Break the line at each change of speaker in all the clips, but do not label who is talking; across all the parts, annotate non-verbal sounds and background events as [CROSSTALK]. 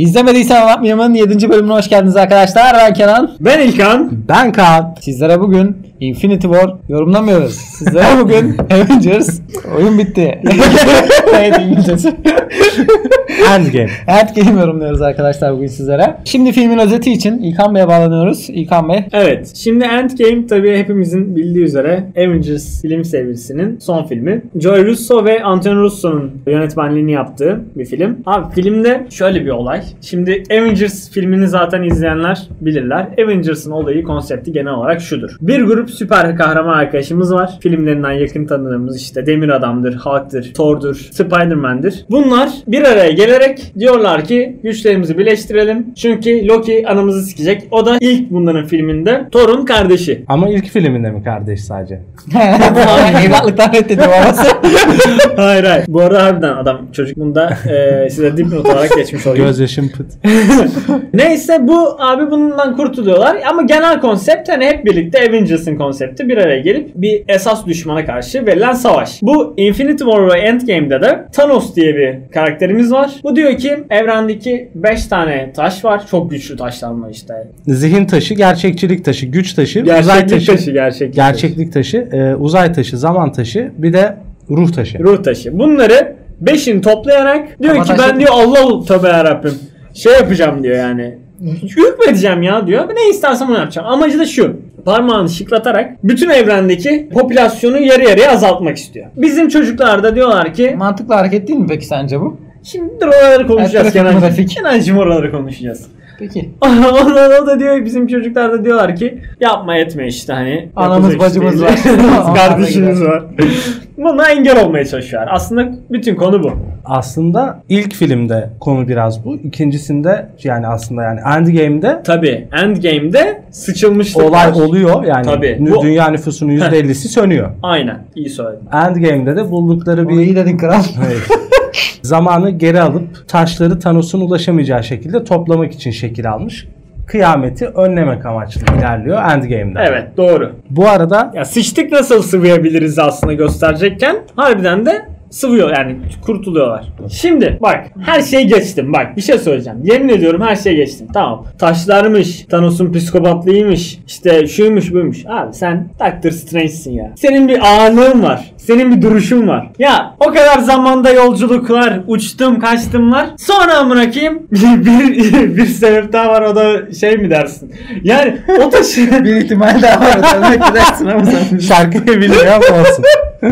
İzlemediysen anlatmayamın 7. bölümüne hoş geldiniz arkadaşlar. Ben Kenan.
Ben İlkan.
Ben Kaan.
Sizlere bugün Infinity War yorumlamıyoruz. Sizlere [LAUGHS] bugün Avengers oyun bitti. [LAUGHS] evet İngilizcesi.
Endgame.
Endgame yorumluyoruz arkadaşlar bugün sizlere. Şimdi filmin özeti için İlkan Bey'e bağlanıyoruz. İlkan [LAUGHS] Bey
Evet. Şimdi Endgame tabii hepimizin bildiği üzere Avengers film serisinin son filmi. Joy Russo ve Antonio Russo'nun yönetmenliğini yaptığı bir film. Abi filmde şöyle bir olay. Şimdi Avengers filmini zaten izleyenler bilirler. Avengers'ın olayı, konsepti genel olarak şudur. Bir grup süper kahraman arkadaşımız var. Filmlerinden yakın tanıdığımız işte Demir Adam'dır, Hulk'tır, Thor'dur, Spider-Man'dir. Bunlar bir araya gelerek diyorlar ki güçlerimizi birleştirelim. Çünkü Loki anamızı sikecek. O da ilk bunların filminde Thor'un kardeşi.
Ama ilk filminde mi kardeş sadece?
eyvahlıktan reddediyor babası.
hayır hayır. Bu arada harbiden adam çocuk bunda e, size dipnot olarak geçmiş oluyor.
Göz yaşım pıt.
Neyse bu abi bundan kurtuluyorlar ama genel konsept hani hep birlikte Avengers'ın konsepti bir araya gelip bir esas düşmana karşı verilen savaş. Bu Infinity War ve Endgame'de de Thanos diye bir karakterimiz var. Bu diyor ki evrendeki 5 tane taş var. Çok güçlü taşlar bunlar işte.
Zihin taşı, gerçekçilik taşı, güç taşı, uzay
Gerçeklik
taşı,
taşı, gerçeklik taşı.
gerçeklik taşı, e, uzay taşı, zaman taşı, bir de ruh taşı.
Ruh taşı. Bunları 5'ini toplayarak diyor
Ama
ki
taşlar-
ben diyor Allah tövbe yarabbim. Şey yapacağım diyor yani. Hükmedeceğim ya diyor. Ne istersem onu yapacağım. Amacı da şu. Parmağını şıklatarak bütün evrendeki popülasyonu yarı yarıya azaltmak istiyor. Bizim çocuklar da diyorlar ki
Mantıklı hareket değil mi peki sence bu?
şimdi dur oraları konuşacağız
Evet, trafik,
Kenan'cığım.
trafik.
Kenan'cığım oraları konuşacağız. [LAUGHS]
Peki.
Onlar da diyor bizim çocuklar da diyorlar ki yapma etme işte hani.
Anamız,
yapacak
bacımız
işte.
var.
[LAUGHS] Kız kardeşimiz
Onlar
[LAUGHS] var. Buna engel olmaya çalışıyorlar. Aslında bütün konu bu.
Aslında ilk filmde konu biraz bu. İkincisinde yani aslında yani Endgame'de
Tabi Endgame'de sıçılmışlık
olay
var.
oluyor. Yani
Tabii.
nü-
Bu-
dünya nüfusunun %50'si sönüyor.
Aynen iyi söyledin.
Endgame'de de buldukları
Bunu
bir
iyi dedin kral.
Evet. [LAUGHS] Zamanı geri alıp taşları Thanos'un ulaşamayacağı şekilde toplamak için şekil almış. Kıyameti önlemek amaçlı ilerliyor Endgame'den.
Evet doğru.
Bu arada [LAUGHS]
Ya sıçtık nasıl sıvıyabiliriz aslında gösterecekken harbiden de sıvıyor yani kurtuluyorlar. Şimdi bak her şeyi geçtim bak bir şey söyleyeceğim. Yemin ediyorum her şeyi geçtim tamam. Taşlarmış, Thanos'un psikopatlığıymış, işte şuymuş buymuş. Abi sen Doctor Strange'sin ya. Senin bir ağırlığın var. Senin bir duruşun var. Ya o kadar zamanda yolculuklar, uçtum kaçtımlar. Sonra amına koyayım [LAUGHS] bir, bir, bir sebep daha var o da şey mi dersin? Yani o taşı...
[LAUGHS] Bir ihtimal daha var. Sen gidersin [LAUGHS] ama sen.
şarkıyı bilmiyor ama olsun.
[LAUGHS]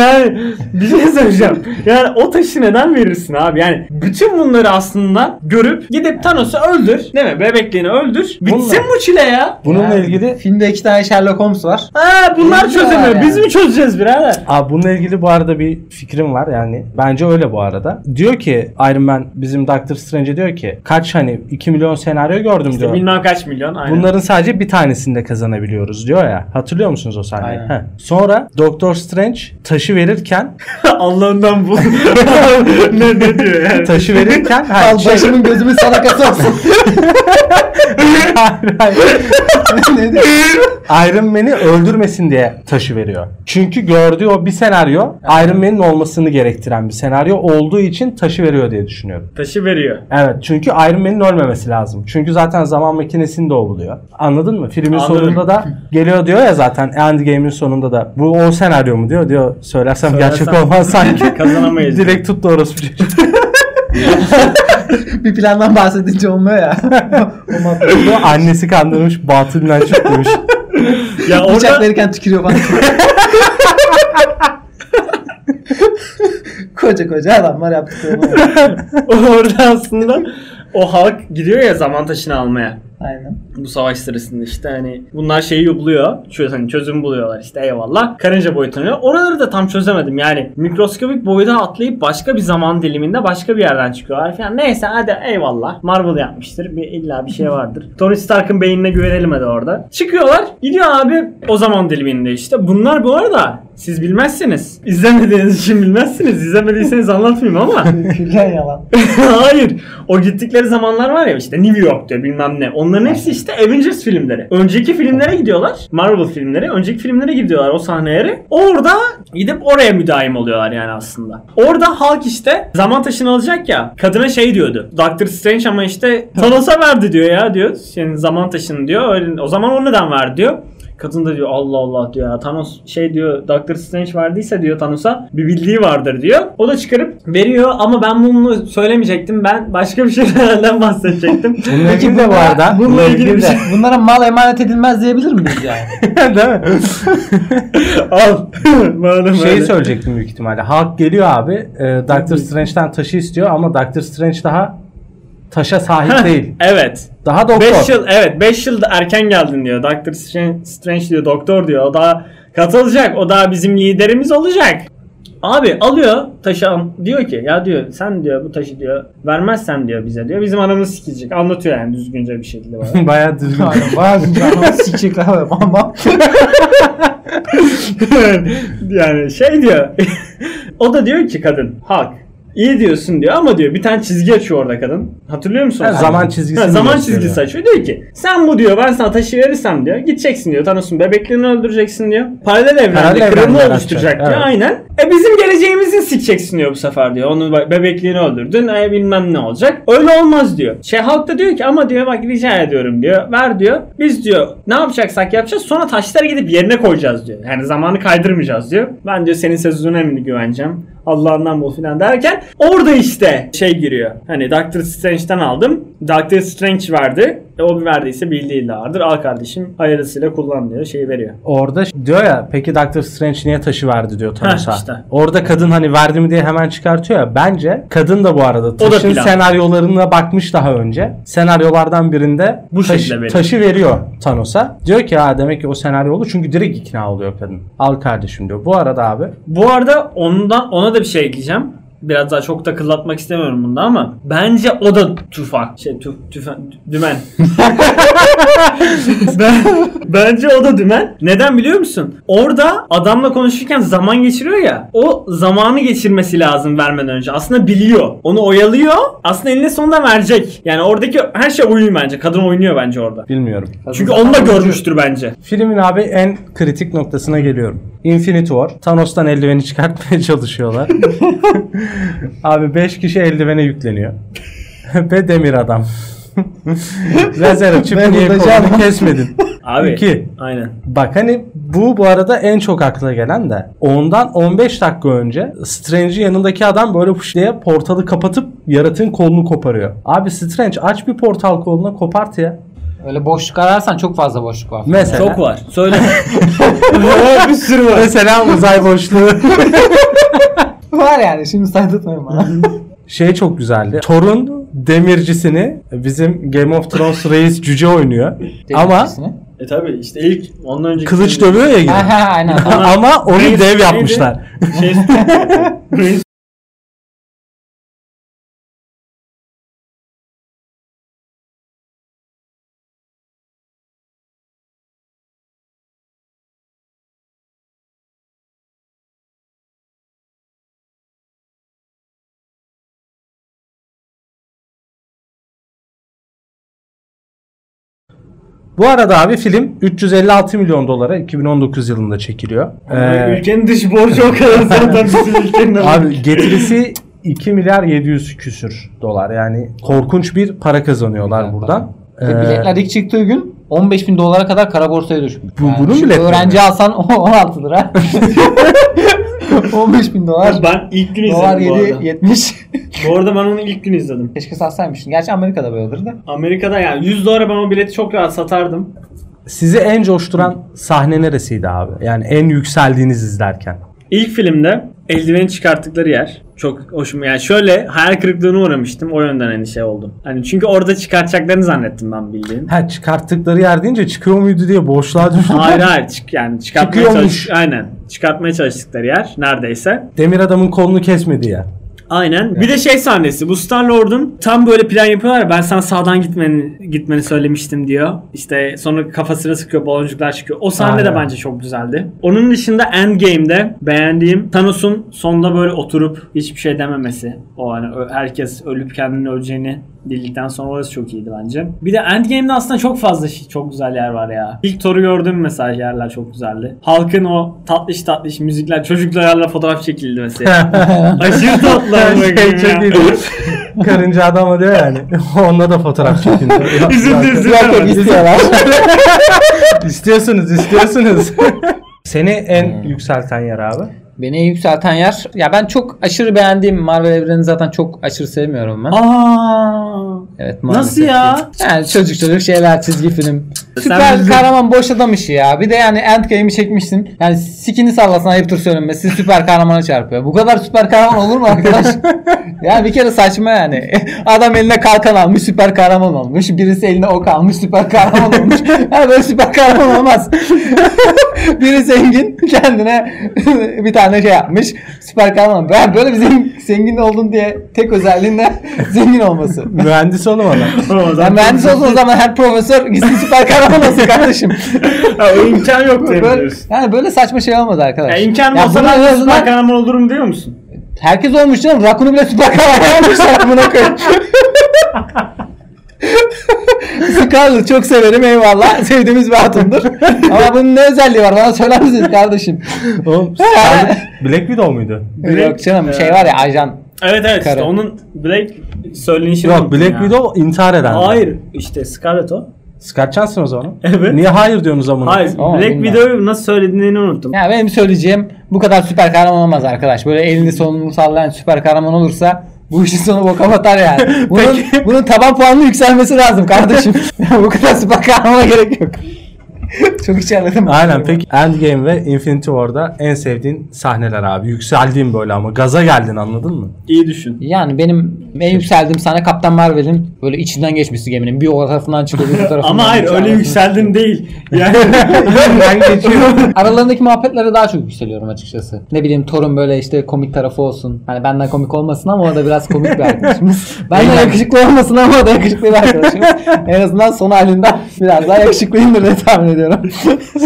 yani bir şey söyleyeceğim. Yani o taşı neden verirsin abi? Yani bütün bunları aslında görüp gidip Thanos'u öldür. Değil mi? Bebekliğini öldür. Bitsin
Bunlar-
bu çile ya.
Bununla
Yani
ilgili
filmde iki tane Sherlock Holmes var.
Ha bunlar
Bunlar
çözemiyor.
yani.
Biz mi çözeceğiz birader?
Abi bununla ilgili bu arada bir fikrim var yani bence öyle bu arada. Diyor ki Iron Man bizim Doctor Strange'e diyor ki kaç hani 2 milyon senaryo gördüm
İşte
diyor.
bilmem kaç milyon. Aynen.
Bunların sadece bir tanesinde kazanabiliyoruz diyor ya. Hatırlıyor musunuz o sahneyi?
Aynen.
Heh. Sonra Doktor Strange taşı verirken
[LAUGHS]
[LAUGHS]
Allah'ından bu. ne, ne diyor yani?
taşı verirken ha,
Al
şey-
başımın gözümün [LAUGHS] sadakası olsun.
Hayır, hayır.
[LAUGHS] ne diyor?
Iron Man'i öldürmesin diye taşı veriyor. Çünkü gördüğü o bir senaryo Iron Man'in olmasını gerektiren bir senaryo olduğu için taşı veriyor diye düşünüyorum.
Taşı veriyor.
Evet çünkü Iron Man'in ölmemesi lazım. Çünkü zaten zaman makinesinde o buluyor. Anladın mı? Filmin
Anladım. [LAUGHS]
sonunda da geliyor diyor ya zaten Endgame'in sonunda da bu o senaryo mu diyor diyor söylersem,
Söylersem
gerçek olmaz sanki.
[LAUGHS]
[LAUGHS]
Kazanamayız.
Direkt tuttu orospu çocuğu.
Bir plandan bahsedince olmuyor ya. o mantıklı.
Annesi kandırmış batılından çok demiş.
Ya
Bıçak
orada
verirken tükürüyor [LAUGHS] bana. koca koca adamlar yaptıklarını.
[LAUGHS] orada aslında o halk gidiyor ya zaman taşını almaya.
Aynen.
bu savaş sırasında işte hani bunlar şeyi buluyor. Çöz, hani çözüm buluyorlar işte eyvallah. Karınca boyutunu. Oraları da tam çözemedim. Yani mikroskopik boyuta atlayıp başka bir zaman diliminde başka bir yerden çıkıyorlar falan. Neyse hadi eyvallah. Marvel yapmıştır. Bir, illa bir şey vardır. Tony Stark'ın beynine güvenelim hadi orada. Çıkıyorlar. Gidiyor abi o zaman diliminde işte. Bunlar bu arada Siz bilmezsiniz. İzlemediğiniz için bilmezsiniz. İzlemediyseniz anlatmayayım ama.
[LAUGHS] Küllen yalan.
[LAUGHS] Hayır. O gittikleri zamanlar var ya işte New York diyor bilmem ne. Onların hepsi işte Avengers filmleri. Önceki filmlere gidiyorlar. Marvel filmleri. Önceki filmlere gidiyorlar o sahnelere. Orada gidip oraya müdaim oluyorlar yani aslında. Orada halk işte zaman taşını alacak ya. Kadına şey diyordu. Doctor Strange ama işte Thanos'a verdi diyor ya diyor. Yani zaman taşını diyor. Öyle- O zaman o neden verdi diyor. Kadın da diyor Allah Allah diyor ya Thanos şey diyor Doctor Strange verdiyse diyor Thanos'a bir bildiği vardır diyor. O da çıkarıp veriyor ama ben bunu söylemeyecektim. Ben başka bir şeylerden bahsedecektim.
[LAUGHS]
Bununla ilgili de bu
bunlara-
arada.
bununla ilgili bir
şey.
Bunlara mal emanet edilmez diyebilir miyiz yani?
[LAUGHS] Değil mi?
[LAUGHS] Al. Madem
Şeyi
öyle.
şey söyleyecektim büyük ihtimalle. Hulk geliyor abi. E, Doctor Strange'den taşı istiyor ama Doctor Strange daha taşa sahip değil.
Evet.
Daha doktor.
5 yıl evet 5 yıl da erken geldin diyor. Doctor Strange, Strange diyor doktor diyor. O daha katılacak. O daha bizim liderimiz olacak. Abi alıyor taşı al- diyor ki ya diyor sen diyor bu taşı diyor vermezsen diyor bize diyor bizim anamız sikilecek. Anlatıyor yani düzgünce bir şekilde bana.
[LAUGHS] Bayağı düzgün.
Aynen
[LAUGHS]
bayağı canım sikecek abi ama.
[LAUGHS] yani şey diyor. o da diyor ki kadın halk. iyi diyorsun diyor ama diyor bir tane çizgi açıyor orada kadın. Hatırlıyor musun?
Ha,
onu?
zaman çizgisini
Ha, zaman
gösteriyor.
çizgisi açıyor. Diyor ki sen bu diyor ben sana taşı verirsem diyor gideceksin diyor Thanos'un bebeklerini öldüreceksin diyor. Paralel evrende
Paralel
kırılma
evrenler
oluşturacak
açacak,
diyor
evet.
aynen. E bizim geleceğimizi sikeceksin diyor bu sefer diyor. Onun be- bebekliğini öldürdün e bilmem ne olacak. Öyle olmaz diyor. Şey halk da diyor ki ama diyor bak rica ediyorum diyor. Ver diyor. Biz diyor ne yapacaksak yapacağız sonra taşları gidip yerine koyacağız diyor. Yani zamanı kaydırmayacağız diyor. Ben diyor senin sözüne mi güveneceğim? Allah'ından bul filan derken orada işte şey giriyor. Hani Doctor Strange'den aldım. Doctor Strange verdi. E, o verdiyse bildiği vardır. Al kardeşim hayırlısıyla kullan diyor. Şeyi veriyor.
Orada diyor ya peki Doctor Strange niye taşı verdi diyor Thanos'a.
Heh, işte.
Orada kadın hani verdi mi diye hemen çıkartıyor ya. Bence kadın da bu arada taşın
plan.
senaryolarına bakmış daha önce. Senaryolardan birinde
Bu
taş-
şekilde veriyor.
taşı veriyor Thanos'a. Diyor ki ha demek ki o senaryo oldu çünkü direkt ikna oluyor kadın. Al kardeşim diyor. Bu arada abi
Bu arada ondan ona da bir şey ekleyeceğim. Biraz daha çok da kıllatmak istemiyorum bunda ama bence o da tufak. Şey tuf, tüfen, dümen. ben, bence o da dümen. Neden biliyor musun? Orada adamla konuşurken zaman geçiriyor ya. O zamanı geçirmesi lazım vermeden önce. Aslında biliyor. Onu oyalıyor. Aslında eninde sonunda verecek. Yani oradaki her şey oyun bence. Kadın oynuyor bence orada.
bilmiyorum.
Çünkü onu da görmüştür bence.
Filmin abi en kritik noktasına geliyorum. Infinity War. Thanos'tan eldiveni çıkartmaya [LAUGHS] çalışıyorlar. abi 5 kişi eldivene yükleniyor. [LAUGHS] Ve demir adam. [LAUGHS] Lazer açıp
Ben
niye
vuracağım.
kolunu kesmedin?
[LAUGHS] Abi.
İki.
Aynen.
Bak hani bu bu arada en çok akla gelen de ondan 15 dakika önce Strange'in yanındaki adam böyle puş diye portalı kapatıp yaratığın kolunu koparıyor. Abi Strange aç bir portal koluna kopart ya.
Öyle boşluk ararsan çok fazla boşluk var.
Mesela.
Çok var. Söyle. bir sürü
Mesela uzay boşluğu.
var yani şimdi saydırtmayın bana.
[LAUGHS] Şey çok güzeldi. Thor'un demircisini bizim Game of Thrones reis cüce oynuyor. Ama
Demircisini.
E tabi işte ilk ondan önce
kılıç dövüyor ya
Ha,
yine.
ha, aynen.
[LAUGHS] Ama onu
Reis
dev
neydi?
yapmışlar.
[LAUGHS] Şey,
Bu arada abi film 356 milyon dolara 2019 yılında çekiliyor. Ee,
ülkenin dış borcu o kadar zaten bizim ülkenin.
Abi getirisi 2 milyar 700 küsür dolar. Yani korkunç bir para kazanıyorlar buradan.
Ve
Ee,
biletler ilk çıktığı gün 15 bin dolara kadar kara borsaya düşmüş.
Bu- bunun
şu
biletleri
Öğrenci
mi?
alsan o- 16
[LAUGHS]
lira. 15 bin dolar.
ben ilk gün
Dolar
izledim bu arada.
7, 70.
Bu arada ben onu ilk gün
[LAUGHS]
izledim.
Keşke satsaymışsın. Gerçi Amerika'da böyledir de.
Amerika'da yani 100 dolara ben o bileti çok rahat satardım.
Ee, sizi en coşturan sahne neresiydi abi? Yani en yükseldiğiniz izlerken.
İlk filmde eldiveni çıkarttıkları yer çok hoşuma yani şöyle hayal kırıklığına uğramıştım o yönden endişe oldum. Hani çünkü orada çıkartacaklarını zannettim ben
[LAUGHS]
bildiğin.
Ha çıkarttıkları yer deyince çıkıyor muydu diye
[LAUGHS]
boşluğa düştüm.
Hayır hayır çık yani çıkartmaya
Çıkıyormuş.
çalış aynen çıkartmaya çalıştıkları yer neredeyse. [LAUGHS]
Demir adamın kolunu kesmedi ya.
Aynen. Bir de şey sahnesi. Bu Star Lord'un tam böyle plan yapıyorlar ya ben sana sağdan gitmeni gitmeni söylemiştim diyor. İşte sonra kafasına sıkıyor baloncuklar çıkıyor. O sahne de
Aynen.
bence çok güzeldi. Onun dışında Endgame'de beğendiğim Thanos'un sonda böyle oturup hiçbir şey dememesi. O hani ö- herkes ölüp kendini öleceğini bildikten sonra orası çok iyiydi bence. Bir de Endgame'de aslında çok fazla şey, çok güzel yer var ya. İlk Thor'u gördüğüm mesela yerler çok güzeldi. Halkın o tatlış tatlış müzikler çocuklarla fotoğraf çekildi mesela. Aşırı tatlı ama
şey çok
ya.
iyi değil. Karınca adamı diyor yani. [LAUGHS] Onunla da fotoğraf çekin.
[LAUGHS] Üzüldü
[LAUGHS]
Zaten
üzüldü.
istiyorlar. [LAUGHS]
[LAUGHS]
istiyorsunuz istiyorsunuz. Seni en yükselten yer abi.
Beni en yükselten yer. Ya ben çok aşırı beğendiğim Marvel evrenini zaten çok aşırı sevmiyorum ben.
Aa,
Evet maalesef.
nasıl ya?
Yani çocuk çocuk şeyler çizgi film.
Sen
Süper
bildin.
kahraman boş adam işi ya. Bir de yani Endgame'i çekmişsin. Yani sikini sallasın ayıptır söylenmesi Sizi süper kahramana çarpıyor. Bu kadar süper kahraman olur mu arkadaş? yani bir kere saçma yani. [LAUGHS] Adam eline kalkan almış süper kahraman olmuş. Birisi eline ok almış süper kahraman olmuş. Yani böyle süper kahraman olmaz. Biri zengin kendine [LAUGHS] bir tane şey yapmış. Süper kahraman. Ben böyle bir zengin, zengin oldum diye tek özelliğinde [LAUGHS] zengin olması.
Mühendis
[LAUGHS]
oğlum adam.
O
Ben
zaman-
mühendis olsun o zaman her profesör gizli süper kahraman olsun kardeşim.
Ha, o imkan yok
böyle,
diyebiliriz.
yani böyle saçma şey olmadı arkadaş.
Ya imkan
Ya
olsa
bunun
ben
en
de
azından
süper kahraman olurum diyor musun?
Herkes olmuş canım. Rakun'u bile süper kahraman olmuşlar buna koyayım. Scarlett çok severim eyvallah. Sevdiğimiz bir hatundur. Ama bunun ne özelliği var bana söyler misiniz kardeşim?
Oğlum Scarlet Black Widow muydu?
Yok canım şey var ya ajan.
Evet evet işte
Kara.
onun Blake söylenişi
Yok
unuttum
Black
ya.
Widow intihar eden.
Hayır işte Scarlet o.
Scott Johnson o zaman.
Evet.
Niye hayır diyorsunuz ama?
Hayır
Ama
Black
bilmem.
Widow'u nasıl söylediğini unuttum.
Ya benim söyleyeceğim bu kadar süper kahraman olmaz arkadaş. Böyle elini solunu sallayan süper kahraman olursa bu işin sonu boka batar
[LAUGHS]
yani. Bunun,
Peki.
bunun taban puanının yükselmesi lazım kardeşim. [LAUGHS] bu kadar süper kahramana gerek yok. [LAUGHS] Çok içerledim.
Aynen peki Endgame ve Infinity War'da en sevdiğin sahneler abi. Yükseldiğin böyle ama gaza geldin anladın [LAUGHS] mı?
İyi düşün.
Yani benim en yükseldiğim sana Kaptan Marvel'in böyle içinden geçmesi geminin. Bir o tarafından çıkıyor
[LAUGHS]
bir bu tarafından.
Ama hayır
geçiyor.
öyle yükseldim değil.
[LAUGHS]
Yani
ben geçiyorum.
Aralarındaki muhabbetlere daha çok yükseliyorum açıkçası. Ne bileyim Thor'un böyle işte komik tarafı olsun. Hani benden komik olmasın ama o da biraz komik bir
[LAUGHS]
arkadaşımız. Benden yakışıklı olmasın ama o da yakışıklı bir arkadaşımız. en azından son halinden biraz daha yakışıklıyımdır diye tahmin ediyorum.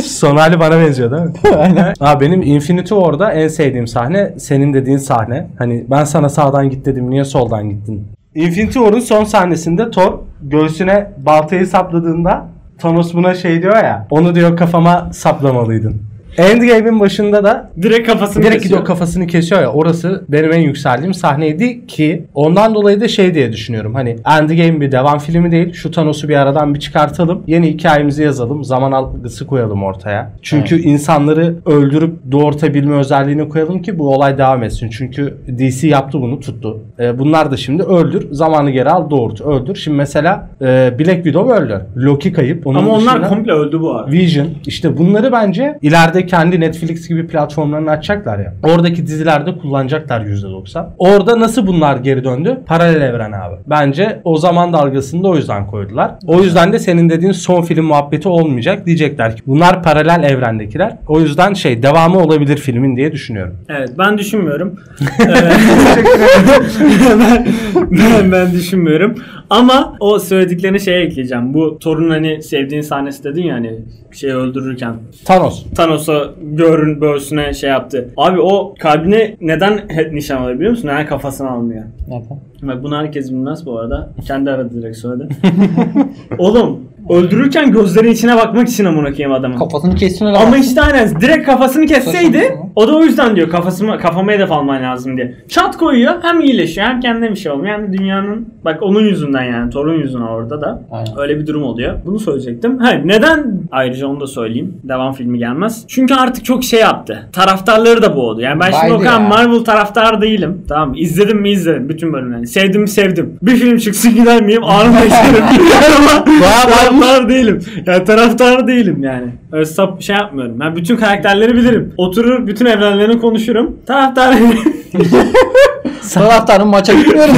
Son hali bana benziyor değil mi? [LAUGHS] Aynen. Abi benim Infinity War'da en sevdiğim sahne senin dediğin sahne. Hani ben sana sağdan git dedim niye soldan gittin? Infinity War'un son sahnesinde Thor göğsüne baltayı sapladığında Thanos buna şey diyor ya. Onu diyor kafama saplamalıydın. Endgame'in başında da
direkt kafasını
Direkt
kesiyor.
gidiyor kafasını kesiyor ya orası benim en yükseldiğim sahneydi ki ondan dolayı da şey diye düşünüyorum hani Endgame bir devam filmi değil şu Thanos'u bir aradan bir çıkartalım yeni hikayemizi yazalım zaman algısı koyalım ortaya. Çünkü insanları öldürüp doğurtabilme özelliğini koyalım ki bu olay devam etsin çünkü DC yaptı bunu tuttu. Ee, bunlar da şimdi öldür zamanı geri al doğurt öldür şimdi mesela e, Black Widow öldü Loki kayıp. Onun
Ama onlar
dışında-
komple öldü bu arada.
Vision işte bunları bence ileride kendi Netflix gibi platformlarını açacaklar ya. Oradaki dizilerde kullanacaklar %90. Orada nasıl bunlar geri döndü? Paralel evren abi. Bence o zaman dalgasını da o yüzden koydular. O yüzden de senin dediğin son film muhabbeti olmayacak diyecekler ki bunlar paralel evrendekiler. O yüzden şey devamı olabilir filmin diye düşünüyorum.
Evet ben düşünmüyorum. Ee, [LAUGHS] ben, ben, ben düşünmüyorum. Ama o söylediklerini şeye ekleyeceğim. Bu torun hani sevdiğin sahnesi dedin ya hani bir şey öldürürken
Thanos.
Thanos'a görün böğsüne şey yaptı. Abi o kalbine neden hep nişan alıyor biliyor musun? Neden kafasını almıyor? Bak bunu herkes bilmez bu arada. Kendi aradı direkt söyledi. Oğlum öldürürken gözlerin içine bakmak için amına koyayım adamın.
Kafasını kesiyorlar
Ama işte aynen direkt kafasını
Saçma
kesseydi
sapan.
o da o yüzden diyor kafasıma, kafama hedef alman lazım diye. Çat koyuyor hem iyileşiyor hem kendine bir şey olmuyor hem de dünyanın bak onun yüzünden yani torun yüzünden orada da
Aynen.
öyle bir durum oluyor. Bunu söyleyecektim. Ha, neden ayrıca onu da söyleyeyim devam filmi gelmez. Çünkü artık çok şey yaptı. Taraftarları da boğdu. Yani ben şimdi
Baydı
o kadar
ya.
Marvel taraftarı değilim. Tamam mı? izledim mi izledim bütün bölümlerini. Sevdim mi sevdim. Bir film çıksın gider miyim ağrıma işlerim. Ama taraftar değilim. Yani taraftar değilim yani. Öyle sap şey yapmıyorum. Ben bütün karakterleri bilirim. Oturur bütün evrenlerini konuşurum. Taraftar
Taraftarın maça
[LAUGHS]
gitmiyorum.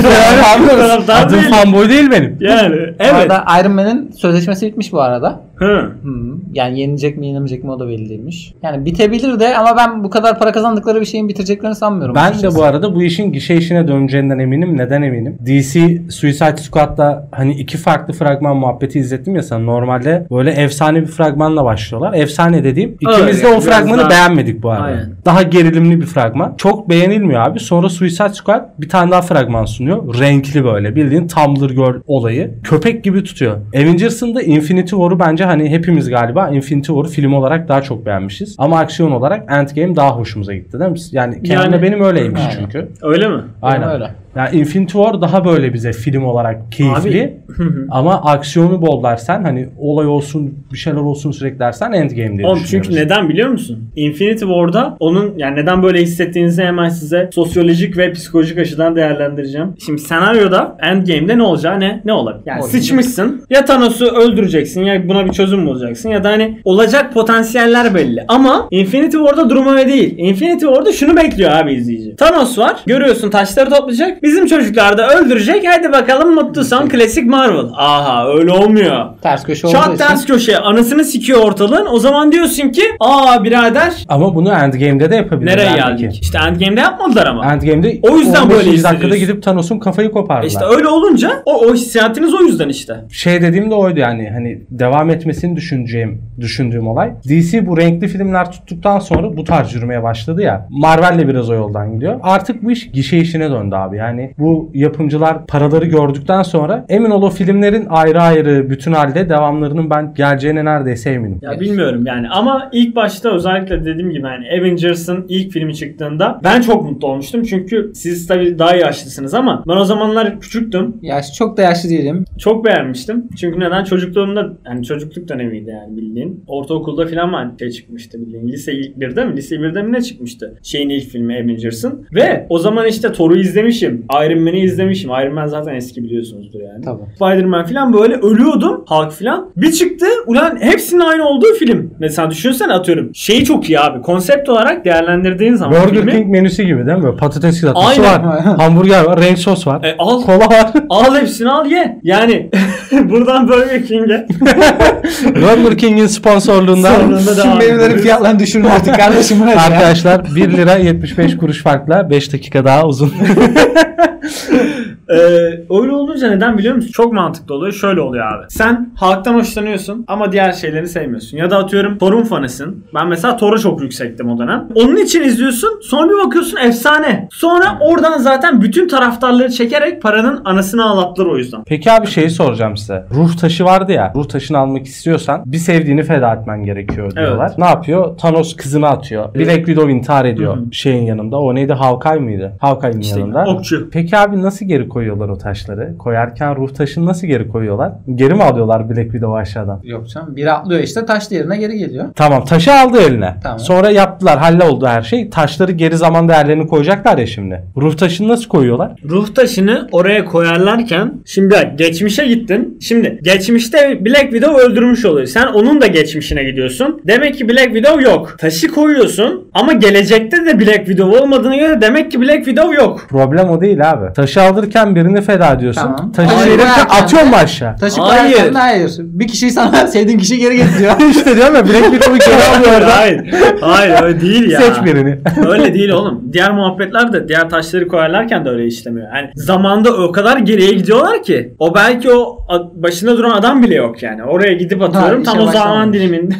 taraftar
Adım
değilim.
fanboy değil benim.
[LAUGHS] Yani
Bu
evet.
arada Iron Man'in sözleşmesi bitmiş bu arada.
Hı.
Hı. Yani yenilecek mi yenilemeyecek mi o da belli değilmiş. Yani bitebilir de ama ben bu kadar para kazandıkları bir şeyin bitireceklerini sanmıyorum.
Ben de
açıkçası.
bu arada bu işin gişe işine döneceğinden eminim. Neden eminim? DC Suicide Squad'da hani iki farklı fragman muhabbeti izlettim ya sana. Normalde böyle efsane bir fragmanla başlıyorlar. Efsane dediğim ikimiz de o
biraz
fragmanı
daha-
beğenmedik bu arada.
Aynen.
Daha gerilimli bir fragman. Çok beğenilmiyor abi. Sonra Suicide Squad bir tane daha fragman sunuyor. Renkli böyle. Bildiğin Tumblr Girl olayı. Köpek gibi tutuyor. Avengers'ın da Infinity War'u bence hani hepimiz galiba Infinity War'u film olarak daha çok beğenmişiz. Ama aksiyon olarak Endgame daha hoşumuza gitti değil mi? Yani Kenan'la
Yani-
benim öyleymiş
Aynen.
çünkü.
Öyle mi?
Aynen.
öyle.
Yani Infinity War daha böyle bize film olarak keyifli.
Hı hı.
Ama aksiyonu bol dersen hani olay olsun bir şeyler olsun sürekli dersen Endgame diye
Oğlum çünkü
düşünüyoruz.
neden biliyor musun? Infinity War'da onun yani neden böyle hissettiğinizi hemen size sosyolojik ve psikolojik açıdan değerlendireceğim. Şimdi senaryoda Endgame'de ne olacağı ne ne olabilir? Yani
Olabilir.
sıçmışsın. Ya Thanos'u öldüreceksin ya buna bir çözüm bulacaksın ya da hani olacak potansiyeller belli. Ama Infinity War'da durum öyle değil. Infinity War'da şunu bekliyor abi izleyici. Thanos var. Görüyorsun taşları toplayacak. Bizim çocuklar da öldürecek. Hadi bakalım mutlu son
[LAUGHS]
klasik Marvel. Aha öyle olmuyor.
Ters köşe olduğu
Şat
için.
ters köşe anasını sikiyor ortalığın. O zaman diyorsun ki aa birader
Ama bunu Endgame'de de yapabilirler.
nereye
belki.
geldik? İşte Endgame'de yapmadılar ama.
Endgame'de
O yüzden
15.
böyle
dakikada
izliyoruz.
gidip Thanos'un kafayı kopardılar.
İşte öyle olunca o, o hissiyatınız o yüzden işte.
şey dediğim de oydu yani hani devam etmesini düşüneceğim düşündüğüm olay. DC bu renkli filmler tuttuktan sonra bu tarz yürümeye başladı ya. Marvel'le biraz o yoldan gidiyor. Artık bu iş gişe işine döndü abi. Yani bu yapımcılar paraları gördükten sonra emin ol o filmlerin ayrı ayrı bütün halde devamlarının ben geleceğine neredeyse eminim.
Ya bilmiyorum yani ama ilk başta özellikle dediğim gibi yani Avengers'ın ilk filmi çıktığında ben çok mutlu olmuştum. Çünkü siz tabii daha yaşlısınız ama ben o zamanlar küçüktüm.
Yaş çok da yaşlı [LAUGHS] değilim.
Çok beğenmiştim. Çünkü neden? Çocukluğumda yani çocukluk dönemiydi yani bildiğin. Ortaokulda falan var şey çıkmıştı bildiğin. Lise ilk birde mi? Lise birde mi ne çıkmıştı? Şeyin ilk filmi Avengers'ın. Ve o zaman işte Thor'u izlemişim. Iron Man'i izlemişim. Iron Man zaten eski biliyorsunuzdur yani.
Tabii.
Spider-Man falan böyle ölüyordum. Hulk falan. Bir çıktı. Ulan hepsinin aynı olduğu film. Mesela düşünsene atıyorum. Şeyi çok iyi abi. Konsept olarak değerlendirdiğin zaman
Burger
filmi-
King menüsü gibi değil mi? Böyle patates kızartması
Aynen.
var. Hamburger var. Ranch sos var.
E, al, [LAUGHS]
kola var.
al hepsini al ye. Yani [LAUGHS] buradan Burger King'e.
Burger King'in sponsorluğunda
Sonra- Bunda devam
Şu meyvelerin
ediyoruz.
fiyatlarını düşürün artık kardeşim. hadi ya.
Arkadaşlar 1 lira 75 kuruş farkla 5 dakika daha uzun.
Ee, öyle olunca neden biliyor musun? Çok mantıklı oluyor. Şöyle oluyor abi. Sen halktan hoşlanıyorsun ama diğer şeyleri sevmiyorsun. Ya da atıyorum Thor'un fanısın. Ben mesela Thor'a çok yüksektim o dönem. Onun için izliyorsun. Sonra bir bakıyorsun efsane. Sonra oradan zaten bütün taraftarları çekerek paranın anasını ağlattılar o yüzden.
[LAUGHS] Peki abi şeyi soracağım size. Ruh taşı vardı ya. Ruh taşını almak istiyorsan bir sevdiğini feda etmen gerekiyor diyorlar. Ne yapıyor? Thanos kızını atıyor. Black Widow intihar ediyor
Hı hı.
şeyin yanında. O neydi? Hawkeye mıydı? Hawkeye'nin
İşte
yanında.
okçu.
Peki abi nasıl geri koyuyorlar o taşları? Koyarken ruh taşını nasıl geri koyuyorlar? Geri mi alıyorlar Black Widow'u aşağıdan?
[LAUGHS] Yok canım. Biri atlıyor işte taş yerine geri geliyor.
Tamam taşı aldı eline.
Tamam.
Sonra yaptılar halloldu her şey. Taşları geri zaman değerlerini koyacaklar ya şimdi. Ruh taşını nasıl koyuyorlar?
Ruh taşını oraya koyarlarken şimdi bak, geçmişe gittin. Şimdi geçmişte Black Widow öldürmüş oluyor. Sen onun da geçmişine gidiyorsun. Demek ki Black Widow yok. Taşı koyuyorsun ama gelecekte de Black Widow olmadığına göre demek ki Black Widow yok.
Problem o değil abi. Taşı alırken birini feda ediyorsun.
Tamam.
Taşı
Hayır,
verirken
bırak yani.
atıyorsun mu aşağı?
Taşı
Hayır.
koyarken de hayır. Bir kişiyi sana [LAUGHS] sevdiğin kişi geri [LAUGHS] getiriyor.
işte diyorum ya
[LAUGHS]
Black Widow'u geri alıyor oradan.
hayır. Hayır öyle değil ya.
Seç birini. [LAUGHS]
öyle değil oğlum. Diğer muhabbetler de diğer taşları koyarlarken de öyle işlemiyor. Yani zamanda o kadar geriye gidiyorlar ki o belki o a- başında duran adam bile yok yani. Oraya gidip atıyorum
işe
tam o zaman
başlamamış.
diliminde.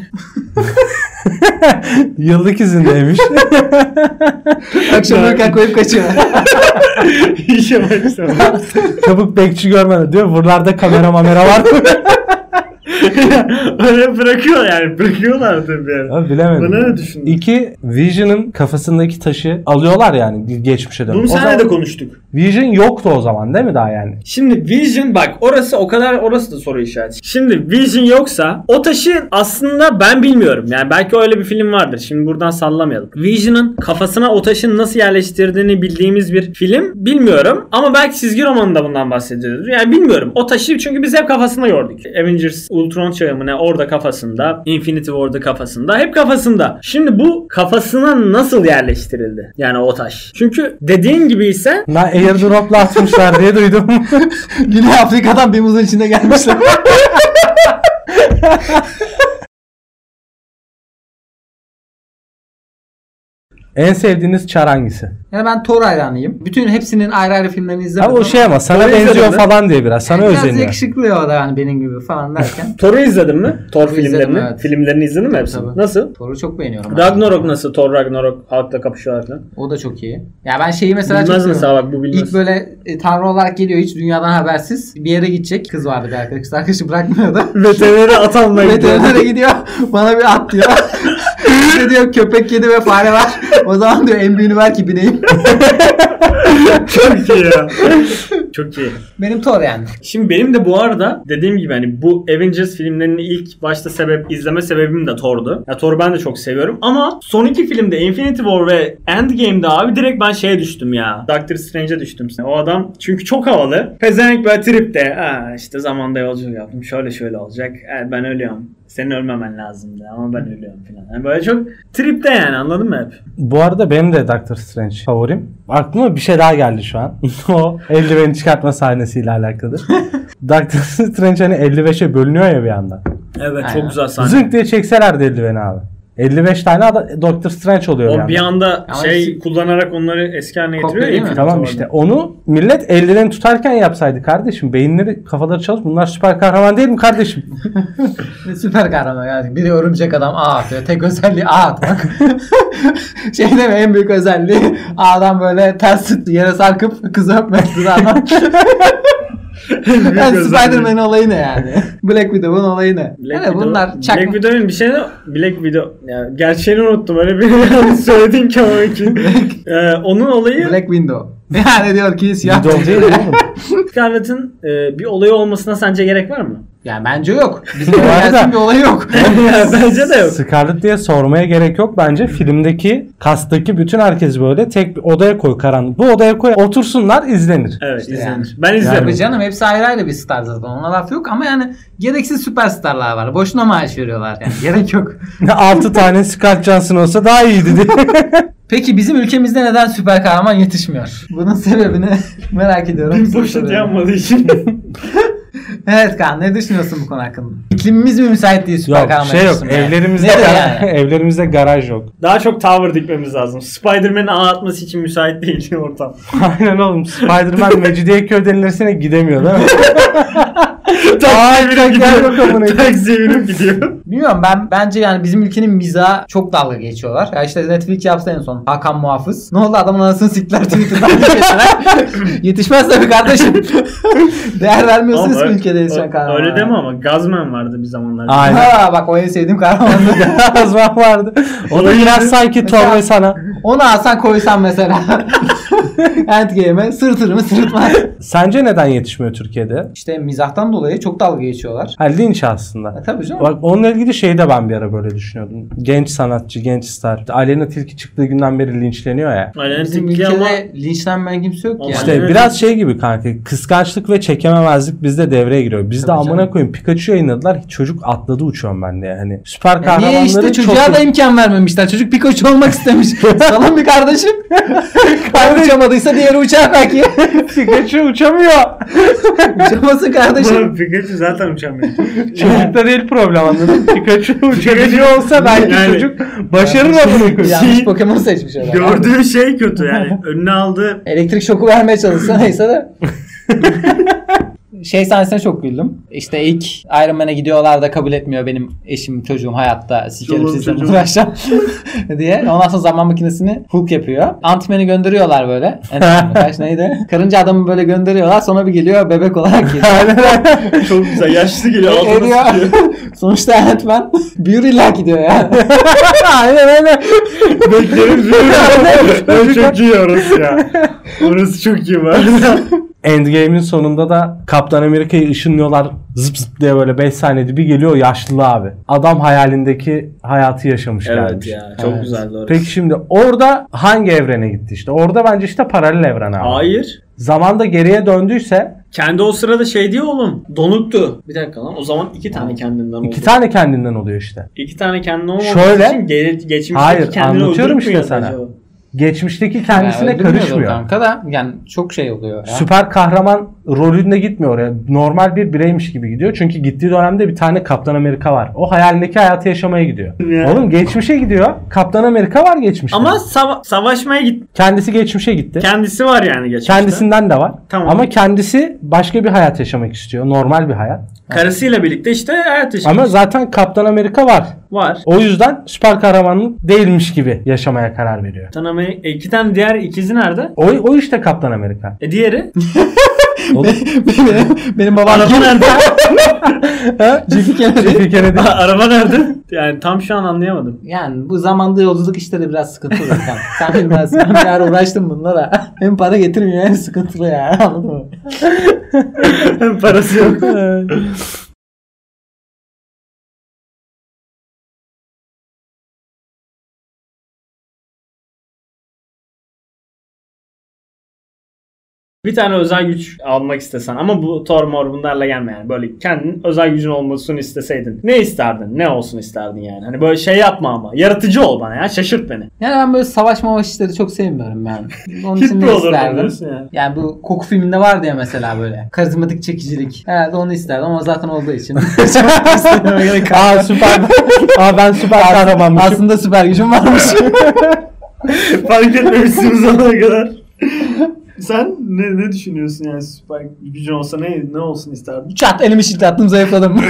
[LAUGHS]
Yıllık izindeymiş.
Akşam uyurken koyup kaçıyor. [LAUGHS]
İşe başlamamış.
Çabuk bekçi görmedi. Diyor buralarda kamera mamera var
[LAUGHS]
mı?
Öyle bırakıyor yani. Bırakıyorlar tabii yani.
Abi bilemedim.
Bunu ne düşündün?
İki, Vision'ın kafasındaki taşı alıyorlar yani geçmişe dönüp.
Bunu
O
senle de
zaman
konuştuk.
Vision yoktu o zaman değil mi daha yani?
Şimdi Vision bak orası o kadar orası da soru işareti. Şimdi Vision yoksa o taşı aslında ben bilmiyorum. Yani belki öyle bir film vardır. Şimdi buradan sallamayalım. Vision'ın kafasına o taşın nasıl yerleştirdiğini bildiğimiz bir film bilmiyorum. Ama belki çizgi romanında bundan bahsediyordur. Yani bilmiyorum. O taşı çünkü biz hep kafasında gördük. Avengers Ultron çağı mı ne orada kafasında. Infinity War'da kafasında. Hep kafasında. Şimdi bu kafasına nasıl yerleştirildi? Yani o taş. Çünkü dediğin gibi ise
Na airdrop'la atmışlar diye
[LAUGHS]
duydum.
[LAUGHS] Güney Afrika'dan bir muzun içinde gelmişler.
En sevdiğiniz çar hangisi?
Yani ben Thor hayranıyım. Bütün hepsinin ayrı ayrı filmlerini izlemedim.
Abi o şey ama sana
Öyle
benziyor
izledim.
falan diye biraz. Sana
Biraz
özeniyor.
yakışıklı o da yani benim gibi falan
[LAUGHS]
derken.
Thor'u izledin mi? Thor
Thor'u izledim,
filmlerini.
evet.
Filmlerini izledin mi hepsini?
Tabii.
Nasıl?
Thor'u çok beğeniyorum.
Ragnarok nasıl? Thor Ragnarok halkla kapışıyorlar falan.
O da çok iyi. Ya ben şeyi mesela
Bilmez
çok
mesela
seviyorum.
bak bu bilmez.
İlk böyle e, tanrı olarak geliyor hiç dünyadan habersiz. Bir yere gidecek. Kız vardı bir arkadaş. Kız Arkadaşı
[LAUGHS]
bırakmıyordu.
Veterinere atanla gidiyor.
Veterinere gidiyor. [LAUGHS] Bana bir at
[LAUGHS]
diyor. İşte diyor köpek yedi ve fare var. O zaman diyor en büyüğünü ver ki
[LAUGHS]
bineyim.
Çok iyi ya. Çok iyi.
Benim Thor yani.
Şimdi benim de bu arada dediğim gibi hani bu Avengers filmlerinin ilk başta sebep izleme sebebim de Thor'du. Ya Thor'u ben de çok seviyorum ama son iki filmde Infinity War ve Endgame'de abi direkt ben şeye düştüm ya. Doctor Strange'e düştüm. O adam çünkü çok havalı. Pezenek böyle tripte. Ha işte zamanda yolculuk yaptım. Şöyle şöyle olacak. Ha, ben ölüyorum. Senin ölmemen lazımdı ama ben ölüyorum falan. Yani böyle çok tripte yani anladın mı hep?
Bu arada benim de Doctor Strange favorim. Aklıma bir şey daha geldi şu an. [LAUGHS] o eldiveni çıkartma sahnesiyle alakalı.
[LAUGHS]
Doctor Strange hani 55'e bölünüyor ya bir anda.
Evet
Aynen.
çok güzel sahne.
Zınk diye çekselerdi eldiveni abi. 55 tane ada- Doctor Strange oluyor
O bir anda
Ama
şey
işte-
kullanarak onları eski haline
Kopya
getiriyor. ya
değil mi?
Infinity
Tamam
War'da.
işte onu millet ellerini tutarken yapsaydı kardeşim. Beyinleri kafaları çalış. Bunlar süper kahraman değil mi kardeşim?
Süper kahraman yani. Biri örümcek adam ağ atıyor. Tek özelliği ağ
[LAUGHS]
atmak. şey deme en büyük özelliği ağdan böyle ters yere sarkıp kızı öpmesi
[LAUGHS]
zaten.
Büyük
yani
özellik.
Spider-Man olayı ne yani? Black Widow'un olayı ne?
Black
yani
Widow-
bunlar çakma.
Black Widow'un bir şey de Black Widow. Yani gerçeğini unuttum. Öyle bir [LAUGHS] yanlış söyledin ki
[LAUGHS]
ama ki. Ee, onun olayı
Black Window. [LAUGHS] Yani diyor ki siyah.
Widom değil oğlum.
Scarlett'ın e, bir olayı olmasına sence gerek
[LAUGHS]
var mı?
[LAUGHS]
[LAUGHS]
Yani bence yok. Bizim
Bu arada-
öğrencinin bir olayı yok.
Yani [LAUGHS] bence de yok.
Scarlet diye sormaya gerek yok. Bence filmdeki kastaki bütün herkes böyle tek bir odaya koy karanlık. Bu odaya koy otursunlar izlenir.
Evet
İşte
izlenir.
yani.
Ben izlerim.
Tabii canım hepsi ayrı ayrı bir star zaten ona laf yok ama yani gereksiz süperstarlar var. Boşuna maaş veriyorlar yani [LAUGHS] gerek yok.
[LAUGHS] 6 tane Scarlett Johansson olsa daha iyiydi diye.
Peki bizim ülkemizde neden süper kahraman yetişmiyor? Bunun sebebini [LAUGHS] merak
[LAUGHS]
ediyorum.
Boşut
Soruyorum.
yapmadığı için. [LAUGHS]
Evet Kaan ne düşünüyorsun bu konu hakkında? İklimimiz mi müsait değil süper
[LAUGHS] yok
kahraman
şey yok.
yetiştirmeye?
Evlerimizde,
Nedir
gar-
yani?
[LAUGHS] evlerimizde garaj yok.
Daha çok tower dikmemiz lazım. Spider-Man'in ağ atması için müsait değil [LAUGHS] ortam.
[LAUGHS] Aynen oğlum. Spider-Man Mecidiyeköy denilesine gidemiyor [LAUGHS] değil mi? Aa, bir dakika, gel
[LAUGHS]
bakalım buraya.
Taksiye
[LAUGHS]
binip gidiyor.
Bilmiyorum ben bence yani bizim ülkenin mizaha çok dalga geçiyorlar. Ya işte Netflix yaptı en son Hakan Muhafız. Ne oldu adamın anasını siktiler Twitter'dan [LAUGHS] geçtiler. Yetişmez tabii kardeşim. Değer vermiyorsunuz ki
Ama
ülkede yetişen
öyle-
kahramana.
Öyle deme ama Gazman vardı bir zamanlar.
Aynen.
Ha bak o en sevdiğim kahramandı.
[LAUGHS] Gazman vardı. O da biraz sanki Thor ve sana.
Onu alsan koysan mesela. [LAUGHS] Endgame'e sırtırımı sırıtmaz.
Sence neden yetişmiyor Türkiye'de?
İşte mizahtan dolayı çok dalga geçiyorlar.
Ha, linç aslında.
E, tabii canım.
Bak onunla ilgili şeyi de ben bir ara böyle düşünüyordum. Genç sanatçı, genç star. Aleyna Tilki çıktığı günden beri linçleniyor ya.
Aynen
Bizim
tepki
ülkede
ama
linçlenmeyen kimse yok ki.
Ama
İşte
yani.
evet.
biraz şey gibi kanka. Kıskançlık ve çekememezlik bizde devreye giriyor. Biz de
Tabii
amına
canım.
koyayım Pikachu yayınladılar. Çocuk atladı uçuyorum ben de yani. Süper
Ya
kahramanları
niye işte çocuğa
çok...
da imkan vermemişler. Çocuk Pikachu olmak
[LAUGHS]
istemiş. Salın bir kardeşim. Kardeş uçamadıysa diğeri uçar
[LAUGHS]
belki.
Pikachu uçamıyor.
Uçamasın
Oğlum
kardeşim.
[LAUGHS] Pikachu zaten uçamıyor.
[LAUGHS]
Çocukta değil problem anladın. mı? Pikachu uçabiliyor olsa belki
Yani-
çocuk başarır amına koyayım.
Yanlış Pokemon seçmiş herhalde.
Gördüğü şey kötü [LAUGHS] yani. Önüne aldığı
Elektrik şoku vermeye [LAUGHS] çalışsa neyse de. şey sahnesine çok güldüm. İşte ilk Iron Man'e gidiyorlar da kabul etmiyor benim eşim çocuğum hayatta sikerim
Çoluğum,
sizden
çocuğum.
uğraşacağım [LAUGHS] diye. Ondan sonra zaman makinesini Hulk yapıyor. Ant-Man'i gönderiyorlar böyle. Ant-Man Kaç neydi? Karınca adamı böyle gönderiyorlar sonra bir geliyor bebek olarak geliyor. [LAUGHS]
çok güzel. Yaşlı geliyor. altına
Eriyor.
sıkıyor.
[LAUGHS] Sonuçta Ant-Man büyürüyle gidiyor yani.
[LAUGHS] Aynen öyle.
[LAUGHS] Beklerim. [LAUGHS] ben çok iyi orası ya. Orası çok iyi var.
Endgame'in sonunda da Kaptan Amerika'yı ışınlıyorlar zıp zıp diye böyle 5 saniyede bir geliyor yaşlı abi. Adam hayalindeki hayatı yaşamış gelmiş.
çok Evet.
güzeldi orası.
Peki şimdi orada hangi evrene gitti işte? Orada bence işte paralel evren abi.
Hayır.
Zamanda geriye döndüyse
Kendi o sırada şey diyor oğlum. Donuktu. Bir dakika lan. O zaman iki tane kendimden oldu.
iki tane kendinden oluyor işte.
İki tane kendine olmadığı
Şöyle.
için geri, geçmişteki
Hayır,
kendini
anlatıyorum
öldürüp mü
işte
yazdı
sana.
acaba?
Geçmişteki kendisine
Yani öldürmüyordur
karışmıyor.
Kanka da yani çok şey oluyor ya.
Süper kahraman rolünde gitmiyor oraya. Normal bir bireymiş gibi gidiyor. Çünkü gittiği dönemde bir tane Kaptan Amerika var. O hayalindeki hayatı yaşamaya gidiyor.
Ya.
Oğlum geçmişe gidiyor. Kaptan Amerika var geçmişte.
Ama sava- savaşmaya git.
kendisi geçmişe gitti.
Kendisi var yani geçmişte.
Kendisinden de var.
Tamam.
Ama kendisi başka bir hayat yaşamak istiyor. Normal bir hayat.
Karısıyla birlikte işte hayat yaşıyor.
Ama zaten Kaptan Amerika var.
Var.
O yüzden süper kahramanlık değilmiş gibi yaşamaya karar veriyor.
Tanıma e, iki tane diğer ikizi nerede?
O, o işte
[LAUGHS]
Kaptan Amerika.
E diğeri?
Oğlum,
benim, benim
[LAUGHS]
babam
Araba nerede?
ha?
Jiffy Kennedy.
[LAUGHS]
Bir kere değil.
Araba nerede? Yani tam şu an anlayamadım.
Yani bu zamanda yolculuk işleri biraz sıkıntılı. Sen, sen bilmezsin. Ben bir ara uğraştım bunlara. [LAUGHS] Hem para getirmiyor hem sıkıntılı ya. [LAUGHS] Anladın mı?
[LAUGHS] Parası [LAUGHS] yok. Bir tane özel güç almak istesen ama bu Thor mor bunlarla gelme yani. Böyle kendin özel gücün olmasını isteseydin. Ne isterdin? Ne olsun isterdin yani? Hani böyle şey yapma ama. Yaratıcı ol bana ya. Şaşırt beni.
Yani ben böyle savaş mavaş işleri çok sevmiyorum ben. Onun için
Hitler
ne
olurdun
isterdim?
diyorsun yani.
Yani bu koku filminde vardı ya mesela böyle. Karizmatik çekicilik. Herhalde onu isterdim ama zaten olduğu [LAUGHS] için.
Aa süper. Aa ben süper kahramanmışım.
Aslında süper gücüm varmış.
Fark etmemişsiniz ona kadar. Sen ne, ne düşünüyorsun yani süper gücün olsa ne, ne olsun
[LAUGHS]
isterdin?
Çat elimi şıklattım [LAUGHS] zayıfladım.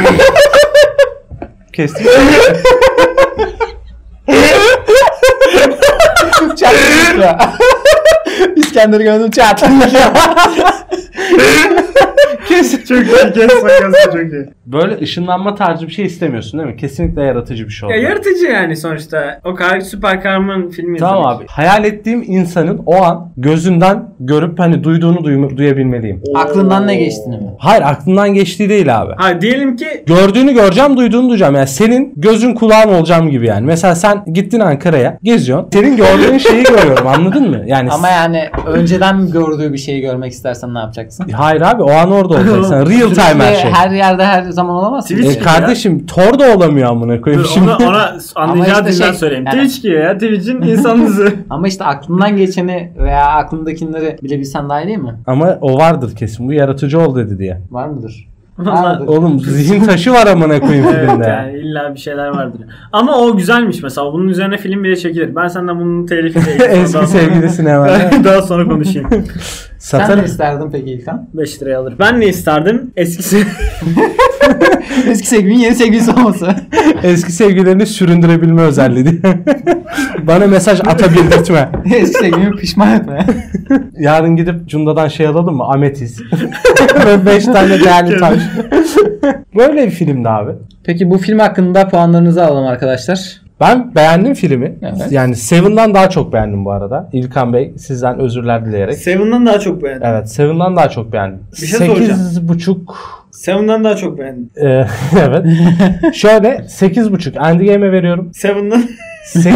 Kestik.
çat. [LAUGHS] İskender'i gördüm çat. [LAUGHS]
Kes. Çok iyi kes sakası çok iyi.
[LAUGHS] Böyle ışınlanma tarzı bir şey istemiyorsun değil mi? Kesinlikle yaratıcı bir şey
Ya
olmalı.
yaratıcı yani sonuçta. O kadar süper kahraman filmi
Tamam
izlemek.
abi. Hayal ettiğim insanın o an gözünden görüp hani duyduğunu duyma- duyabilmeliyim.
Oo.
Aklından ne geçtiğini mi?
Hayır aklından geçtiği değil abi.
Ha diyelim ki
Gördüğünü göreceğim, duyduğunu duyacağım. Yani senin gözün kulağın olacağım gibi yani. Mesela sen gittin Ankara'ya, geziyorsun. Senin gördüğün şeyi görüyorum anladın mı? Yani
Ama yani önceden gördüğü bir şeyi görmek istersen ne yapacaksın?
Hayır abi o an orada olacaksın. Real time her
Sürekli
şey.
Her şey yerde her zaman olamaz.
Twitch
E kardeşim Thor da olamıyor amına
Dur,
koyayım şimdi.
ona, ona anlayacağı
Ama işte
dilden
şey,
söyleyeyim.
yani-
Twitch gibi ya. Twitch'in insan dizi.
Ama işte aklından geçeni veya aklındakileri bilebilsen daha iyi değil mi?
[LAUGHS] Ama o vardır kesin. Bu yaratıcı ol dedi diye.
Var mıdır?
Vallahi-
Vardır.
Oğlum zihin taşı var amına koyayım
evet
filmde.
yani illa bir şeyler vardır. Ama o güzelmiş mesela. Bunun üzerine film bile çekilir. Ben senden bunun telifi değil.
[LAUGHS] Eski sevgilisine var.
[LAUGHS] Daha sonra konuşayım.
Sen ne
Satarım.
isterdin peki İlkan? [LAUGHS]
5 liraya alır. Ben ne isterdim? Eskisi.
Eski sevgilinin yeni sevgilisi olması. [LAUGHS]
Eski sevgilerini süründürebilme özelliği diye. [LAUGHS] Bana mesaj atabildirtme.
Eski sevgilini pişman etme.
Yarın gidip Cunda'dan şey alalım mı? [LAUGHS] Ametiz. Ve 5 tane değerli taş. [LAUGHS] Böyle bir filmdi abi.
[LAUGHS] Peki bu film hakkında puanlarınızı alalım arkadaşlar.
Ben beğendim filmi.
Evet.
Yani Seven'dan daha çok beğendim bu arada. İlkan Bey sizden özürler dileyerek.
Seven'dan daha çok beğendim.
Evet Seven'dan daha çok beğendim.
Bir şey
Sekiz buçuk
Seven'dan daha çok beğendim.
Ee, [LAUGHS] evet. Şöyle 8.5 Endgame'e veriyorum.
Seven'dan
8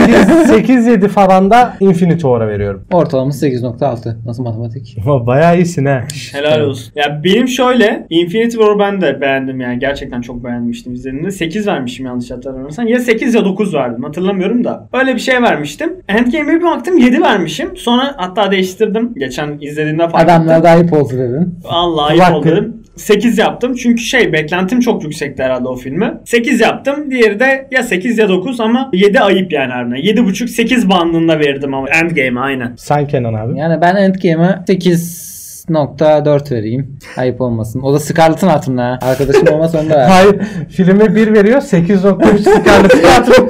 8 7 falan da Infinity War'a veriyorum.
Ortalama 8.6. Nasıl matematik?
Ama bayağı iyisin ha.
[LAUGHS] Helal olsun. Ya benim şöyle Infinity War ben de beğendim yani. Gerçekten çok beğenmiştim izlediğimde. 8 vermişim yanlış hatırlamıyorsam. Ya 8 ya 9 verdim hatırlamıyorum da. Öyle bir şey vermiştim. Endgame'e bir baktım 7 vermişim. Sonra hatta değiştirdim. Geçen izlediğimde fark ettim.
Adamlar daha iyi poz dedin.
Allah
Kulak
ayıp oldu
kırık.
dedim. 8 yaptım çünkü şey beklentim çok yüksekti herhalde o filmi. 8 yaptım. Diğeri de ya 8 ya 9 ama 7 ayıp yani harbiden. 7.5 8 bandında verdim ama Endgame'e aynen.
Sen Kenan abi.
Yani ben Endgame'e 8.4 vereyim. Ayıp olmasın. O da Scarlett'ın hatırına. ha. Arkadaşım olmasa onu da ver.
Hayır filme 1 veriyor 8.3 Scarlet Tiyatro.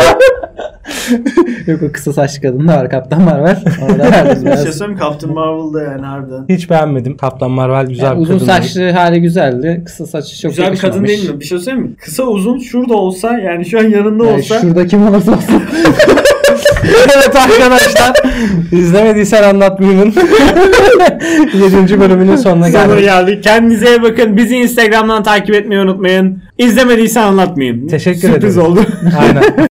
Yok o kısa saçlı kadın da var. Kaptan var
[LAUGHS]
var. Ona da verdim biraz.
şey söyleyeyim Captain Marvel'da yani harbiden.
Hiç beğenmedim. Kaptan Marvel güzel
Yani
bir
uzun
kadın değil.
saçlı hali güzeldi. Kısa saçı çok
Güzel bir kadın
yakışmamış.
değil mi? Bir şey söyleyeyim mi? Kısa uzun şurada olsa yani şu an yanında
Yani
olsa.
şurada kim olursa olsun.
evet arkadaşlar. İzlemediysen anlatmayayım. 7. bölümünün sonuna
Sonuna
geldik.
geldik. Kendinize iyi bakın. Bizi Instagram'dan takip etmeyi unutmayın. İzlemediysen anlatmayayım.
Teşekkür
Sürpriz
ederiz.
oldu.
Aynen.